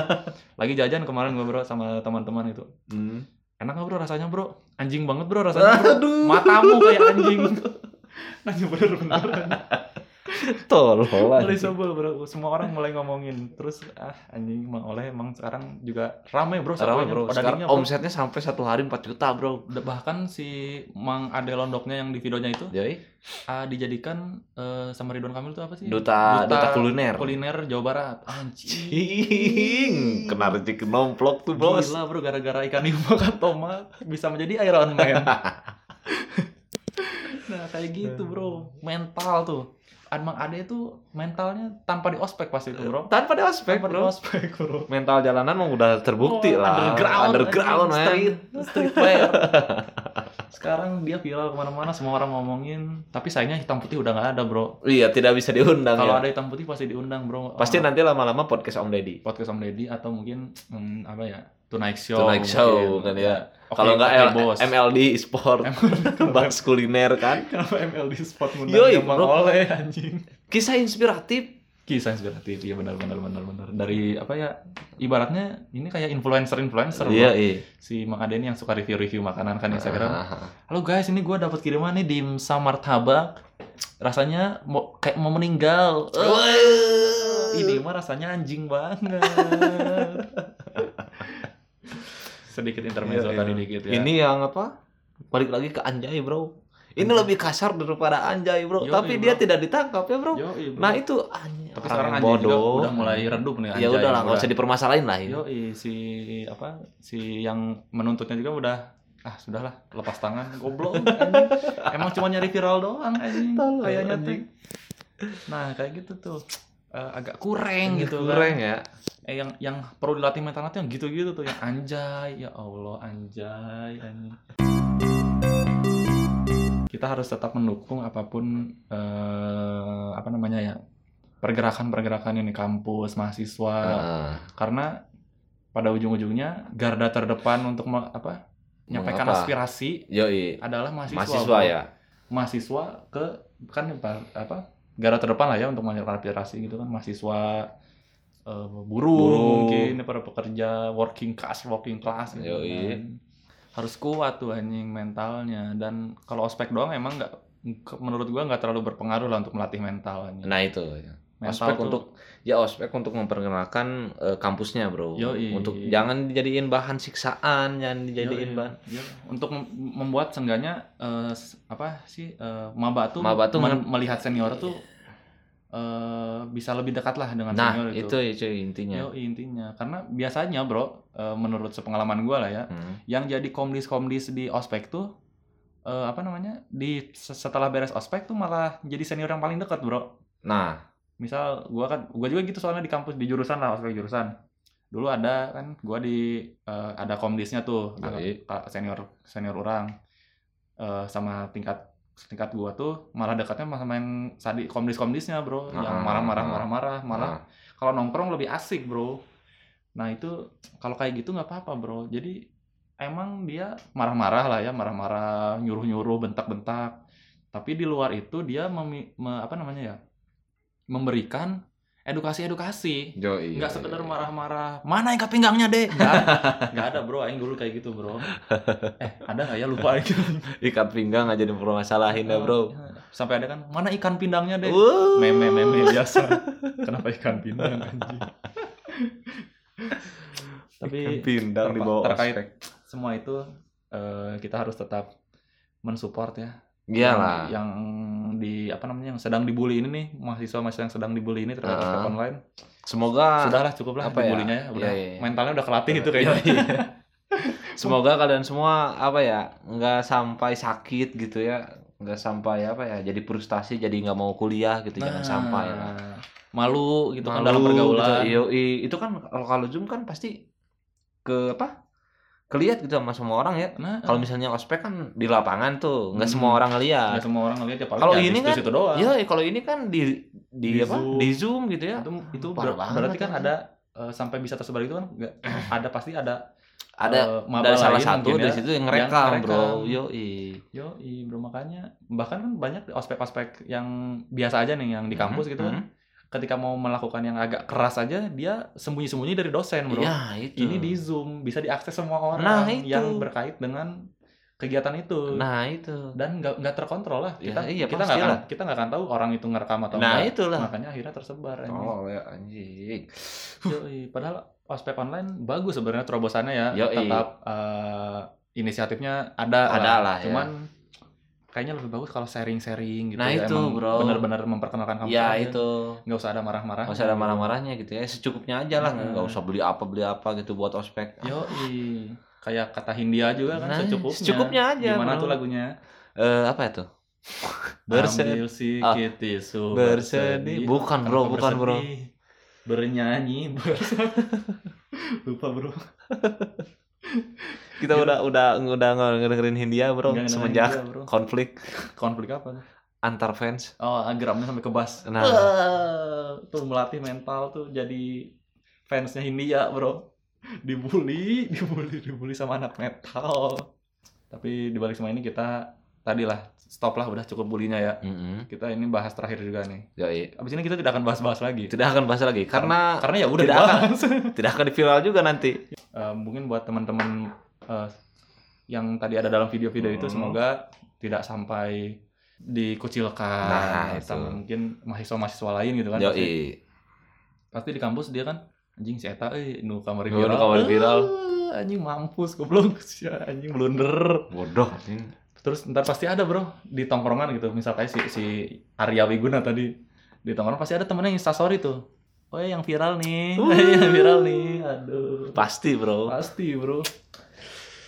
Speaker 2: lagi jajan kemarin gue bro sama teman-teman itu
Speaker 3: Hmm.
Speaker 2: enak nggak bro rasanya bro anjing banget bro rasanya bro
Speaker 3: Aduh,
Speaker 2: matamu kayak anjing anjing bener-bener
Speaker 3: tolol.
Speaker 2: mulai sebel bro semua orang mulai ngomongin terus ah anjing emang oleh emang sekarang juga ramai bro
Speaker 3: Sekarang
Speaker 2: sampahnya.
Speaker 3: bro,
Speaker 2: Pada
Speaker 3: sekarang
Speaker 2: dirinya, bro.
Speaker 3: omsetnya sampai satu hari 4 juta bro.
Speaker 2: bahkan si Mang Ade Londoknya yang di videonya itu
Speaker 3: Jadi
Speaker 2: ah, dijadikan eh, sama Ridwan Kamil itu apa sih
Speaker 3: duta duta,
Speaker 2: Duta
Speaker 3: kuliner.
Speaker 2: kuliner Jawa Barat anjing
Speaker 3: Cing, kena rezeki nomplok tuh bos.
Speaker 2: Hmm. Gila bro, gara-gara ikan hiu makan tomat bisa menjadi Iron Man. nah kayak gitu bro, mental tuh. Admang Ade itu mentalnya tanpa di ospek pasti itu bro.
Speaker 3: Tanpa di ospek
Speaker 2: Tanpa di
Speaker 3: bro.
Speaker 2: ospek bro.
Speaker 3: Mental jalanan mah udah terbukti
Speaker 2: Oh,
Speaker 3: lah.
Speaker 2: Underground,
Speaker 3: underground
Speaker 2: anjing,
Speaker 3: man.
Speaker 2: street, street player. Sekarang dia viral kemana-mana, semua orang ngomongin. Tapi sayangnya hitam putih udah nggak ada bro.
Speaker 3: Iya, tidak bisa diundang.
Speaker 2: Kalau
Speaker 3: ya.
Speaker 2: ada hitam putih pasti diundang bro.
Speaker 3: Pasti
Speaker 2: Sama
Speaker 3: nanti lama-lama podcast Om Deddy.
Speaker 2: podcast Om Deddy atau mungkin hmm, apa ya Tonight Show.
Speaker 3: Tonight Show
Speaker 2: mungkin. Iya.
Speaker 3: kan ya.
Speaker 2: Oke,
Speaker 3: Kalau nggak
Speaker 2: Oke
Speaker 3: L-
Speaker 2: Bos.
Speaker 3: MLD e-sport, bahas kuliner kan.
Speaker 2: Kenapa MLD Spot
Speaker 3: Yoi,
Speaker 2: ngundang Bang
Speaker 3: bro.
Speaker 2: Oleh anjing?
Speaker 3: Kisah inspiratif.
Speaker 2: Kisah inspiratif, iya benar benar benar benar. Dari apa ya? Ibaratnya ini kayak influencer influencer
Speaker 3: Iya, iya.
Speaker 2: si Mang Ade ini yang suka review review makanan kan Instagram.
Speaker 3: Ah.
Speaker 2: Halo guys, ini gua dapat kiriman nih dimsum martabak. Rasanya mau kayak mau meninggal. Eh, ini mah rasanya anjing banget. Sedikit intermezzo
Speaker 3: Iya,
Speaker 2: tadi
Speaker 3: iya.
Speaker 2: dikit ya.
Speaker 3: Ini yang apa? Balik lagi ke anjay, Bro. Ini
Speaker 2: Anjay.
Speaker 3: lebih kasar daripada anjay, Bro.
Speaker 2: Yoi,
Speaker 3: Tapi dia
Speaker 2: Bro.
Speaker 3: tidak ditangkap ya, Bro.
Speaker 2: Yoi, bro.
Speaker 3: Nah, itu anjay.
Speaker 2: tapi
Speaker 3: orang
Speaker 2: sekarang
Speaker 3: yang
Speaker 2: anjing juga udah mulai redup nih
Speaker 3: Ya
Speaker 2: anjay,
Speaker 3: udah lah, nggak usah dipermasalahin lah. Ya.
Speaker 2: Yo, si apa si yang menuntutnya juga udah ah sudahlah lepas tangan goblok anjing. emang cuma nyari viral doang anjing
Speaker 3: Tolol,
Speaker 2: kayaknya
Speaker 3: anjing.
Speaker 2: tuh nah kayak gitu tuh Eh, agak kurang gitu
Speaker 3: Kurang
Speaker 2: kan
Speaker 3: ya.
Speaker 2: eh, yang yang perlu dilatih mentalnya tuh yang gitu-gitu tuh yang anjay ya Allah anjay anjing kita harus tetap mendukung apapun eh, apa namanya ya pergerakan-pergerakan ini kampus mahasiswa
Speaker 3: Ah.
Speaker 2: karena pada ujung-ujungnya garda terdepan untuk me- apa menyampaikan
Speaker 3: Mengapa?
Speaker 2: aspirasi
Speaker 3: Yoi.
Speaker 2: adalah mahasiswa
Speaker 3: Mahasiswa
Speaker 2: Bro.
Speaker 3: ya.
Speaker 2: mahasiswa ke kan apa- apa garda terdepan lah ya untuk menyampaikan aspirasi gitu kan mahasiswa eh, buruh
Speaker 3: Buruh.
Speaker 2: mungkin para pekerja working class working class gitu
Speaker 3: Yoi.
Speaker 2: kan. harus kuat tuh anjing mentalnya dan kalau ospek doang emang nggak menurut gua nggak terlalu berpengaruh lah untuk melatih mental anjing.
Speaker 3: Nah itu.
Speaker 2: Mental
Speaker 3: ospek
Speaker 2: tuh-
Speaker 3: untuk ya ospek untuk memperkenalkan eh, kampusnya bro.
Speaker 2: Yoi.
Speaker 3: Untuk jangan dijadiin bahan siksaan, jangan
Speaker 2: Iya,
Speaker 3: dijadiin bahan.
Speaker 2: iya. untuk mem- membuat sengganya apa sih eh, maba tuh,
Speaker 3: Maba tuh
Speaker 2: men-
Speaker 3: men-
Speaker 2: melihat senior tuh eh, bisa lebih dekat lah dengan
Speaker 3: Nah
Speaker 2: senior gitu. itu.
Speaker 3: itu ya cuy intinya.
Speaker 2: Yoi, intinya karena biasanya bro eh, menurut sepengalaman gua lah ya
Speaker 3: Hmm.
Speaker 2: yang jadi komdis komdis di ospek tuh eh, apa namanya di se- setelah beres ospek tuh malah jadi senior yang paling dekat bro
Speaker 3: Nah
Speaker 2: misal gua kan gua juga gitu soalnya di kampus di jurusan lah ospek jurusan dulu ada kan gua di eh, ada komdisnya tuh
Speaker 3: Yoi.
Speaker 2: ka- senior senior orang Eh, sama tingkat tingkat gua tuh malah dekatnya sama yang tadi komdis komdisnya bro yang
Speaker 3: Ah.
Speaker 2: marah-marah marah-marah malah
Speaker 3: nah.
Speaker 2: kalau nongkrong lebih asik bro nah itu kalau kayak gitu nggak apa-apa bro jadi emang dia marah-marah lah ya marah-marah nyuruh-nyuruh bentak-bentak tapi di luar itu dia memi- me- apa namanya ya memberikan edukasi-edukasi
Speaker 3: Yoi.
Speaker 2: nggak sekedar marah-marah mana yang pinggangnya deh nggak nggak ada bro aing dulu kayak gitu bro eh ada nggak ya lupa aing.
Speaker 3: Ikat pinggang aja dipermasalahin ya bro.
Speaker 2: sampai ada kan mana ikan pindangnya deh
Speaker 3: Wuh.
Speaker 2: meme meme biasa kenapa ikan pindang anjing tapi
Speaker 3: Ikan pindang
Speaker 2: terpa-
Speaker 3: di bawah
Speaker 2: terkait
Speaker 3: ospek.
Speaker 2: semua itu eh, kita harus tetap mensupport ya yang,
Speaker 3: Iyalah.
Speaker 2: yang di apa namanya yang sedang dibully ini nih mahasiswa mahasiswa yang sedang dibully ini terhadap
Speaker 3: Ah.
Speaker 2: ospek online
Speaker 3: Semoga
Speaker 2: sudahlah cukup lah
Speaker 3: apa ya?
Speaker 2: dibulinya ya, udah
Speaker 3: Iya, iya, iya.
Speaker 2: mentalnya udah kelatih itu kayaknya
Speaker 3: Semoga kalian semua apa ya nggak sampai sakit gitu ya nggak sampai apa ya jadi frustasi jadi nggak mau kuliah gitu
Speaker 2: Nah,
Speaker 3: jangan sampai lah
Speaker 2: malu gitu kan
Speaker 3: Malu,
Speaker 2: dalam pergaulan
Speaker 3: gitu, yoi. itu kan kalau kalau zoom kan pasti ke apa kelihat gitu sama semua orang ya
Speaker 2: nah
Speaker 3: kalau misalnya ospek kan di lapangan tuh nggak
Speaker 2: Hmm.
Speaker 3: semua orang
Speaker 2: nggak
Speaker 3: ngelihat
Speaker 2: semua orang ngeliat ya paling
Speaker 3: Kalau
Speaker 2: ya di
Speaker 3: ini kan-
Speaker 2: situ-situ doang
Speaker 3: ya kalau ini kan di di,
Speaker 2: Di
Speaker 3: apa
Speaker 2: Zoom.
Speaker 3: di zoom gitu ya
Speaker 2: itu itu
Speaker 3: Parah
Speaker 2: ber-
Speaker 3: banget
Speaker 2: berarti kan
Speaker 3: ya.
Speaker 2: ada eh, sampai bisa tersebar itu kan nggak ada pasti ada
Speaker 3: ada
Speaker 2: eh, maba
Speaker 3: ada salah
Speaker 2: lain
Speaker 3: satu
Speaker 2: mungkin
Speaker 3: dari
Speaker 2: ya,
Speaker 3: situ yang
Speaker 2: yang
Speaker 3: ngerekam
Speaker 2: ngerekam.
Speaker 3: bro yoi
Speaker 2: yo bro makanya bahkan kan banyak ospek-ospek yang biasa aja nih
Speaker 3: Mhm,
Speaker 2: yang di kampus
Speaker 3: Hmm,
Speaker 2: gitu kan ketika mau melakukan yang agak keras aja dia sembunyi-sembunyi dari dosen bro
Speaker 3: ya itu
Speaker 2: ini di zoom bisa diakses semua
Speaker 3: Nah,
Speaker 2: orang
Speaker 3: itu.
Speaker 2: yang berkait dengan kegiatan itu
Speaker 3: nah itu
Speaker 2: dan nggak nggak terkontrol lah
Speaker 3: Ya,
Speaker 2: kita
Speaker 3: iya,
Speaker 2: kita nggak akan
Speaker 3: pastilah.
Speaker 2: kita nggak akan tahu orang itu ngerekam atau
Speaker 3: nah
Speaker 2: enggak
Speaker 3: itulah
Speaker 2: makanya akhirnya tersebar anjing.
Speaker 3: Tolol ya anjing.
Speaker 2: Yoi, padahal ospek online bagus sebenarnya terobosannya ya.
Speaker 3: Yoi.
Speaker 2: Tetap eh, inisiatifnya ada,
Speaker 3: Ada lah, ya.
Speaker 2: Cuman kayaknya lebih bagus kalau sharing-sharing gitu.
Speaker 3: Nah,
Speaker 2: ya.
Speaker 3: itu,
Speaker 2: Emang
Speaker 3: bro.
Speaker 2: Benar-benar memperkenalkan kampus.
Speaker 3: Ya
Speaker 2: aja.
Speaker 3: itu.
Speaker 2: Nggak usah ada marah-marah.
Speaker 3: Gak usah ada marah-marahnya gitu ya. Secukupnya aja lah.
Speaker 2: Hmm.
Speaker 3: Nggak usah beli apa beli apa gitu buat ospek.
Speaker 2: Yoi. Kayak kata Hindia Iya juga kan
Speaker 3: Nah,
Speaker 2: secukupnya.
Speaker 3: secukupnya aja,
Speaker 2: Gimana
Speaker 3: bro.
Speaker 2: tuh lagunya?
Speaker 3: Eh apa itu? Bersedih.
Speaker 2: Ambil
Speaker 3: ah,
Speaker 2: sikit tisu
Speaker 3: bersedih. Bukan, bro,
Speaker 2: Tanpa
Speaker 3: bukan, bro.
Speaker 2: bersedih. Bernyanyi bersedih. Lupa bro
Speaker 3: Kita udah udah udah ngedengerin Hindia bro
Speaker 2: Nggak ngenalin
Speaker 3: semenjak
Speaker 2: dia, bro.
Speaker 3: konflik
Speaker 2: Konflik apa tuh?
Speaker 3: antar fans.
Speaker 2: Oh, geramnya sampai ke bas.
Speaker 3: Nah.
Speaker 2: Eh, tuh melatih mental tuh jadi fansnya Hindia, Bro. Dibully, dibully, dibully sama anak metal. Tapi di balik semua ini kita tadilah stop lah udah cukup bulinya ya.
Speaker 3: Mm-mm.
Speaker 2: Kita ini bahas terakhir juga nih.
Speaker 3: Yoi.
Speaker 2: Abis ini kita tidak akan bahas-bahas lagi.
Speaker 3: Tidak akan bahas lagi karena
Speaker 2: Karena ya udah
Speaker 3: Tidak
Speaker 2: dibahas.
Speaker 3: tidak akan viral juga nanti.
Speaker 2: Eh, mungkin buat teman-teman eh, yang tadi ada dalam video-video itu
Speaker 3: Hmm.
Speaker 2: semoga tidak sampai dikucilkan
Speaker 3: Nah, itu.
Speaker 2: sama mungkin mahasiswa-mahasiswa lain gitu kan pasti,
Speaker 3: Yoi.
Speaker 2: pasti di kampus dia kan anjing si eta euy nu kamari
Speaker 3: Nu
Speaker 2: viral
Speaker 3: kamari viral.
Speaker 2: Eh, anjing mampus goblok sia anjing blunder
Speaker 3: Bodoh. anjing.
Speaker 2: terus ntar pasti ada bro di tongkrongan gitu misalnya si si Arya Wiguna tadi di tongkrongan pasti ada temennya yang instastory tuh oh yang viral nih
Speaker 3: Uh.
Speaker 2: yang Iya, viral nih aduh
Speaker 3: Pasti bro.
Speaker 2: Pasti bro.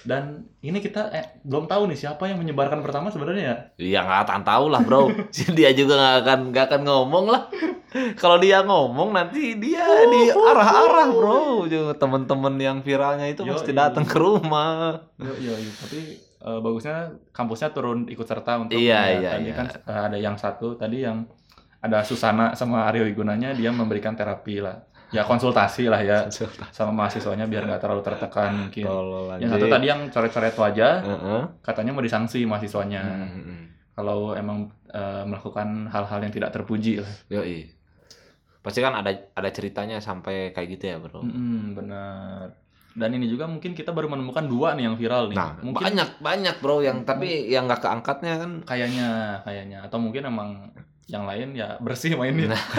Speaker 2: Dan ini kita eh, belum tahu nih siapa yang menyebarkan pertama sebenarnya ya.
Speaker 3: Iya nggak akan tahu lah bro. dia juga nggak akan nggak akan ngomong lah. Kalau dia ngomong nanti dia di arah-arah bro. Temen-temen yang viralnya itu
Speaker 2: Yoi.
Speaker 3: pasti datang ke rumah.
Speaker 2: Yo, yo, yo. Tapi eh, bagusnya kampusnya turun ikut serta untuk
Speaker 3: Iya,
Speaker 2: ya,
Speaker 3: iya,
Speaker 2: tadi
Speaker 3: iya.
Speaker 2: kan eh, ada yang satu tadi yang ada Susana sama Aryo Wigunanya dia memberikan terapi lah. Ya konsultasi lah ya sama mahasiswanya biar nggak terlalu tertekan mungkin.
Speaker 3: Tolol
Speaker 2: Yang satu tadi yang coret-coret wajah
Speaker 3: Heeh.
Speaker 2: katanya mau disanksi mahasiswanya
Speaker 3: Mm-mm.
Speaker 2: kalau emang eh, melakukan hal-hal yang tidak terpuji lah. Hmm.
Speaker 3: Yoi. Pasti kan ada ada ceritanya sampai kayak gitu ya bro.
Speaker 2: Mm, benar. Dan ini juga mungkin kita baru menemukan dua nih yang viral nih.
Speaker 3: Nah,
Speaker 2: mungkin Hmm.
Speaker 3: banyak banyak bro yang tapi yang nggak keangkatnya kan.
Speaker 2: kayaknya kayaknya atau mungkin emang yang lain ya bersih mainnya.
Speaker 3: Nah.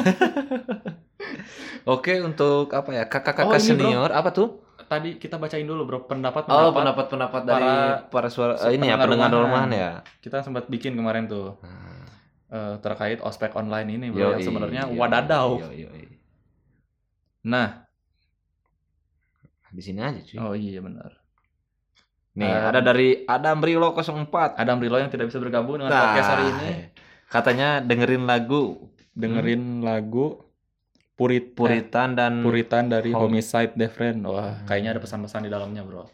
Speaker 3: Oke, untuk apa ya? Kakak-kakak
Speaker 2: Oh, ini, Bro.
Speaker 3: senior apa tuh?
Speaker 2: Tadi kita bacain dulu bro pendapat
Speaker 3: Oh,
Speaker 2: pendapat
Speaker 3: pendapat-pendapat
Speaker 2: dari
Speaker 3: dari para suara
Speaker 2: eh,
Speaker 3: ini ya pendengar rumahan ya.
Speaker 2: kita sempat bikin kemarin tuh eh, terkait ospek online ini bro yang
Speaker 3: Yoi,
Speaker 2: sebenarnya
Speaker 3: yoi,
Speaker 2: wadadau.
Speaker 3: yoi, yoi.
Speaker 2: Nah,
Speaker 3: Di sini aja cuy.
Speaker 2: oh iya benar.
Speaker 3: Nih,
Speaker 2: Eh,
Speaker 3: ada dari Adam Rilo 04.
Speaker 2: Adam Rilo yang tidak bisa bergabung dengan
Speaker 3: Nah,
Speaker 2: podcast hari ini
Speaker 3: Katanya dengerin lagu
Speaker 2: dengerin lagu Purit eh,
Speaker 3: Puritan dan
Speaker 2: Puritan dari
Speaker 3: Hom-
Speaker 2: Homicide The Friend. Wah,
Speaker 3: Hmm.
Speaker 2: kayaknya ada pesan-pesan di dalamnya, Bro.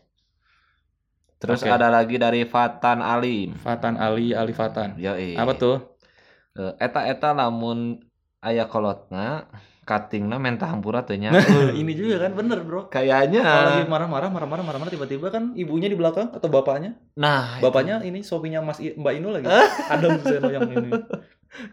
Speaker 3: terus
Speaker 2: Oke.
Speaker 3: ada lagi dari Fatan Alim.
Speaker 2: Fatan Ali Ali Fatan.
Speaker 3: Yoi.
Speaker 2: Apa tuh?
Speaker 3: Eh, Eta-eta lamun aya kolotna katingna menta hampura teh nya.
Speaker 2: Ini juga kan bener, Bro. Kalau lagi
Speaker 3: Kayaknya.
Speaker 2: marah-marah, marah-marah, marah-marah tiba-tiba kan ibunya di belakang atau bapaknya?
Speaker 3: Nah, itu
Speaker 2: Bapaknya ini suaminya Mas I- Mbak Inu lagi. Adam Zeno yang ini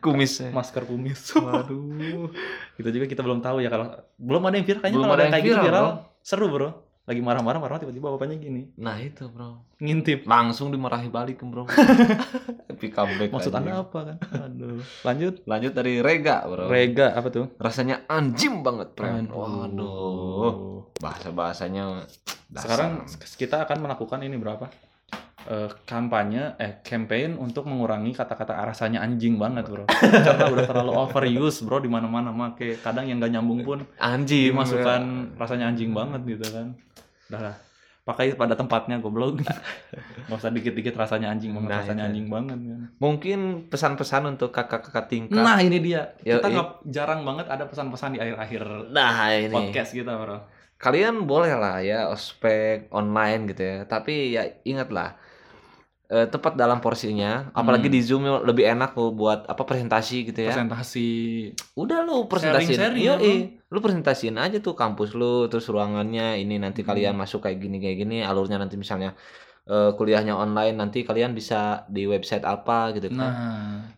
Speaker 3: kumisnya.
Speaker 2: masker kumis.
Speaker 3: Waduh.
Speaker 2: itu juga kita belum tahu ya kalau belum ada yang viral kayaknya
Speaker 3: Belum
Speaker 2: kalau
Speaker 3: ada
Speaker 2: ada
Speaker 3: yang
Speaker 2: kayak gitu
Speaker 3: viral,
Speaker 2: viral seru, Bro. Lagi marah-marah, marah-marah tiba-tiba bapaknya gini,
Speaker 3: Nah, itu, Bro.
Speaker 2: ngintip.
Speaker 3: langsung dimarahi balik bro Tapi comeback
Speaker 2: Maksud
Speaker 3: anjing.
Speaker 2: Anda apa kan? Aduh. Lanjut.
Speaker 3: lanjut dari Rega bro
Speaker 2: Rega apa tuh?
Speaker 3: rasanya anjim banget friend waduh
Speaker 2: Aduh.
Speaker 3: bahasa bahasanya
Speaker 2: Sekarang kita akan melakukan ini berapa? Eh, kampanye eh campaign untuk mengurangi kata-kata rasanya anjing banget bro karena udah terlalu overuse bro di mana-mana make kadang yang gak nyambung pun
Speaker 3: anjim iya.
Speaker 2: dimasukkan rasanya anjing banget gitu kan udah lah, pakai pada tempatnya goblok nggak usah dikit-dikit rasanya anjing banget
Speaker 3: Nah,
Speaker 2: rasanya
Speaker 3: itu.
Speaker 2: anjing banget kan.
Speaker 3: mungkin pesan-pesan untuk kakak-kakak tingkat
Speaker 2: nah ini dia kita
Speaker 3: Yoi.
Speaker 2: nggak- jarang banget ada pesan-pesan di akhir-akhir
Speaker 3: Nah, ini Iya.
Speaker 2: podcast kita bro
Speaker 3: kalian boleh lah ya ospek online gitu ya tapi ya ingatlah eh, tepat dalam porsinya apalagi
Speaker 2: Hmm.
Speaker 3: di zoom lebih enak lo buat apa presentasi gitu ya
Speaker 2: presentasi
Speaker 3: udah lu presentasiin
Speaker 2: Sharing-sharing
Speaker 3: Yoi.
Speaker 2: ya, Bro.
Speaker 3: lu presentasiin aja tuh kampus lu terus ruangannya ini nanti
Speaker 2: Hmm.
Speaker 3: kalian masuk kayak gini kayak gini alurnya nanti misalnya eh, kuliahnya online nanti kalian bisa di website apa gitu kan
Speaker 2: nah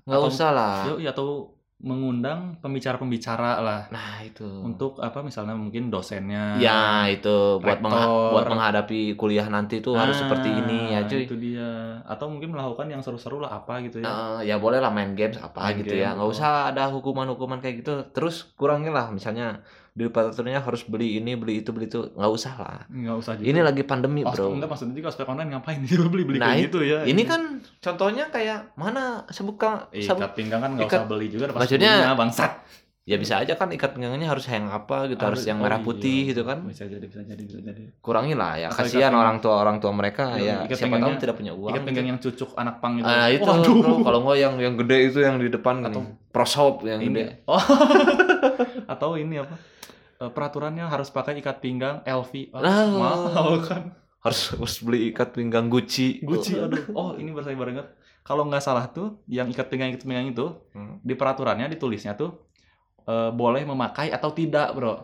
Speaker 3: nggak
Speaker 2: atau-
Speaker 3: usah lah
Speaker 2: Yoi, atau mengundang pembicara-pembicara lah
Speaker 3: nah itu
Speaker 2: untuk apa misalnya mungkin dosennya
Speaker 3: ya itu
Speaker 2: Rektor.
Speaker 3: buat mengha- buat menghadapi kuliah nanti tuh harus
Speaker 2: Ah,
Speaker 3: seperti ini ya cuy
Speaker 2: itu dia atau mungkin melakukan yang seru-seru lah apa gitu ya
Speaker 3: Eh, ya boleh lah main games apa
Speaker 2: Main
Speaker 3: gitu
Speaker 2: game,
Speaker 3: ya nggak
Speaker 2: betul.
Speaker 3: usah ada hukuman-hukuman kayak gitu terus kurangin lah misalnya di peraturannya harus beli ini beli itu beli itu nggak usah lah
Speaker 2: nggak usah gitu
Speaker 3: ini lagi pandemi
Speaker 2: Ospek-
Speaker 3: Iya, bro
Speaker 2: enggak maksudnya juga ospek online ngapain dulu beli beli
Speaker 3: Nah,
Speaker 2: kayak gitu ya
Speaker 3: Ini kan contohnya kayak mana sebuka
Speaker 2: ikat pinggang kan nggak usah
Speaker 3: ikat-
Speaker 2: beli juga ada
Speaker 3: Maksudnya-
Speaker 2: sebelumnya, bangsat
Speaker 3: ya bisa aja kan ikat pinggangnya harus yang apa gitu harus
Speaker 2: Aduh,
Speaker 3: yang
Speaker 2: oh
Speaker 3: merah
Speaker 2: iya.
Speaker 3: putih gitu kan
Speaker 2: bisa jadi bisa jadi bisa jadi
Speaker 3: kurangi lah ya
Speaker 2: Atau ikat
Speaker 3: kasihan
Speaker 2: pinggang-
Speaker 3: orang tua orang tua mereka
Speaker 2: Iya,
Speaker 3: ya
Speaker 2: ikat
Speaker 3: siapa tahu
Speaker 2: pinggangnya-
Speaker 3: tidak punya uang
Speaker 2: ikat pinggang yang cucuk anak pang itu
Speaker 3: ah itu
Speaker 2: Waduh.
Speaker 3: bro, kalau nggak yang yang gede itu yang di depan
Speaker 2: Atau-
Speaker 3: atau prosop yang
Speaker 2: ini
Speaker 3: gede
Speaker 2: oh atau ini apa Eh, peraturannya harus pakai ikat pinggang LV Ah,
Speaker 3: Ah.
Speaker 2: mahal kan
Speaker 3: harus harus beli ikat pinggang Gucci
Speaker 2: Gucci aduh oh ini baru saya baru ingat. kalau nggak salah tuh yang ikat pinggang ikat pinggang itu
Speaker 3: Hmm.
Speaker 2: di peraturannya ditulisnya tuh eh, boleh memakai atau tidak bro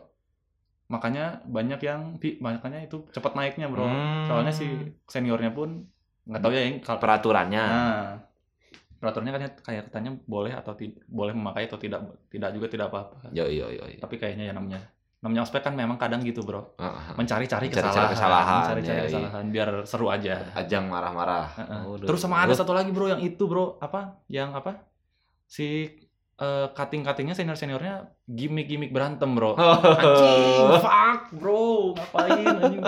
Speaker 2: makanya banyak yang pi- makanya itu cepat naiknya bro
Speaker 3: Hmm.
Speaker 2: soalnya si seniornya pun nggak tahu ya yang kalau
Speaker 3: peraturannya
Speaker 2: nah peraturannya kan kayak katanya boleh atau tidak boleh memakai atau tidak tidak juga tidak apa-apa
Speaker 3: yo yo yo yo.
Speaker 2: tapi kayaknya ya namanya namanya ospek kan memang kadang gitu bro
Speaker 3: Ah, ah.
Speaker 2: mencari-cari
Speaker 3: Mencari-cari
Speaker 2: kesalahan
Speaker 3: kesalahan,
Speaker 2: mencari-cari
Speaker 3: ya, iya.
Speaker 2: kesalahan biar seru aja
Speaker 3: Eh, ajang marah-marah
Speaker 2: Heeh.
Speaker 3: Waduh.
Speaker 2: Ah, Terus sama ada satu lagi bro yang itu bro apa yang apa si kating cutting-cuttingnya senior-seniornya gimmick-gimmick berantem bro. Anjing, fuck bro, ngapain anjing.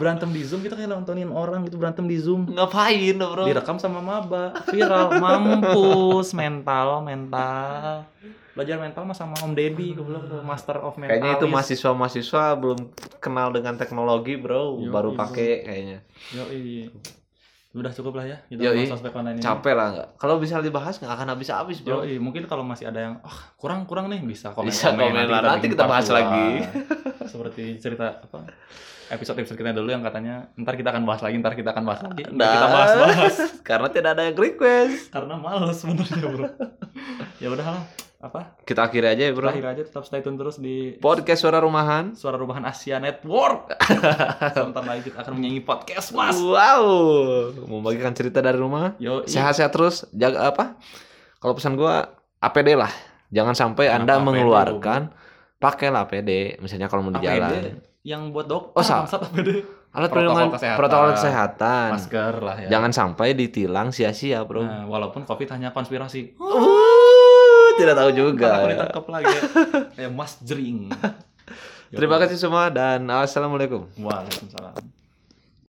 Speaker 2: Berantem di Zoom kita kayak nontonin orang gitu berantem di Zoom.
Speaker 3: ngapain lo, bro
Speaker 2: Direkam sama maba, viral, mampus, mental, mental. Belajar mental mah sama Om Deddy, goblok tuh, master of mental.
Speaker 3: Kayaknya itu mahasiswa-mahasiswa belum kenal dengan teknologi, bro.
Speaker 2: Yoi,
Speaker 3: Baru
Speaker 2: bro.
Speaker 3: pakai kayaknya.
Speaker 2: Udah cukup lah ya, kita
Speaker 3: Yoi.
Speaker 2: masuk aspek online ini.
Speaker 3: Capek lah nggak? Kalau bisa dibahas nggak akan habis-habis, bro.
Speaker 2: Yoi, mungkin kalau masih ada yang "Ah, kurang kurang nih bisa komen
Speaker 3: Bisa komen lah. Nanti
Speaker 2: bikin
Speaker 3: kita
Speaker 2: part
Speaker 3: bahas
Speaker 2: dua.
Speaker 3: lagi.
Speaker 2: Seperti cerita apa? Episode episode kita dulu yang katanya ntar kita akan bahas lagi, ntar kita akan bahas lagi, ntar
Speaker 3: Dah.
Speaker 2: kita bahas bahas
Speaker 3: Karena tidak ada yang request.
Speaker 2: karena males sebenarnya bro. ya udah lah, apa?
Speaker 3: Kita akhiri aja ya, bro.
Speaker 2: Terakhir aja tetap stay tune terus di
Speaker 3: Podcast suara rumahan.
Speaker 2: Suara Rumahan Asia Network. Sebentar lagi kita akan menyanyi podcast mas.
Speaker 3: Wow. Membagikan cerita dari rumah.
Speaker 2: Yo,
Speaker 3: Sehat-sehat terus. Jaga apa? Kalau pesan gua APD lah. Jangan sampai
Speaker 2: Kenapa
Speaker 3: Anda
Speaker 2: APD,
Speaker 3: mengeluarkan pakailah APD. Misalnya kalau mau di jalan.
Speaker 2: yang buat dok?
Speaker 3: Oh, sa-
Speaker 2: APD. Protokol
Speaker 3: alat perlindungan
Speaker 2: kesehatan.
Speaker 3: protokol kesehatan.
Speaker 2: masker lah ya
Speaker 3: Jangan sampai ditilang sia-sia, Bro.
Speaker 2: Nah, walaupun covid hanya konspirasi
Speaker 3: Uh, tidak tahu
Speaker 2: Ntar
Speaker 3: juga.
Speaker 2: aku ditangkap lagi ya mas jering Ya
Speaker 3: Terima kasih semua dan assalamualaikum.
Speaker 2: waalaikumsalam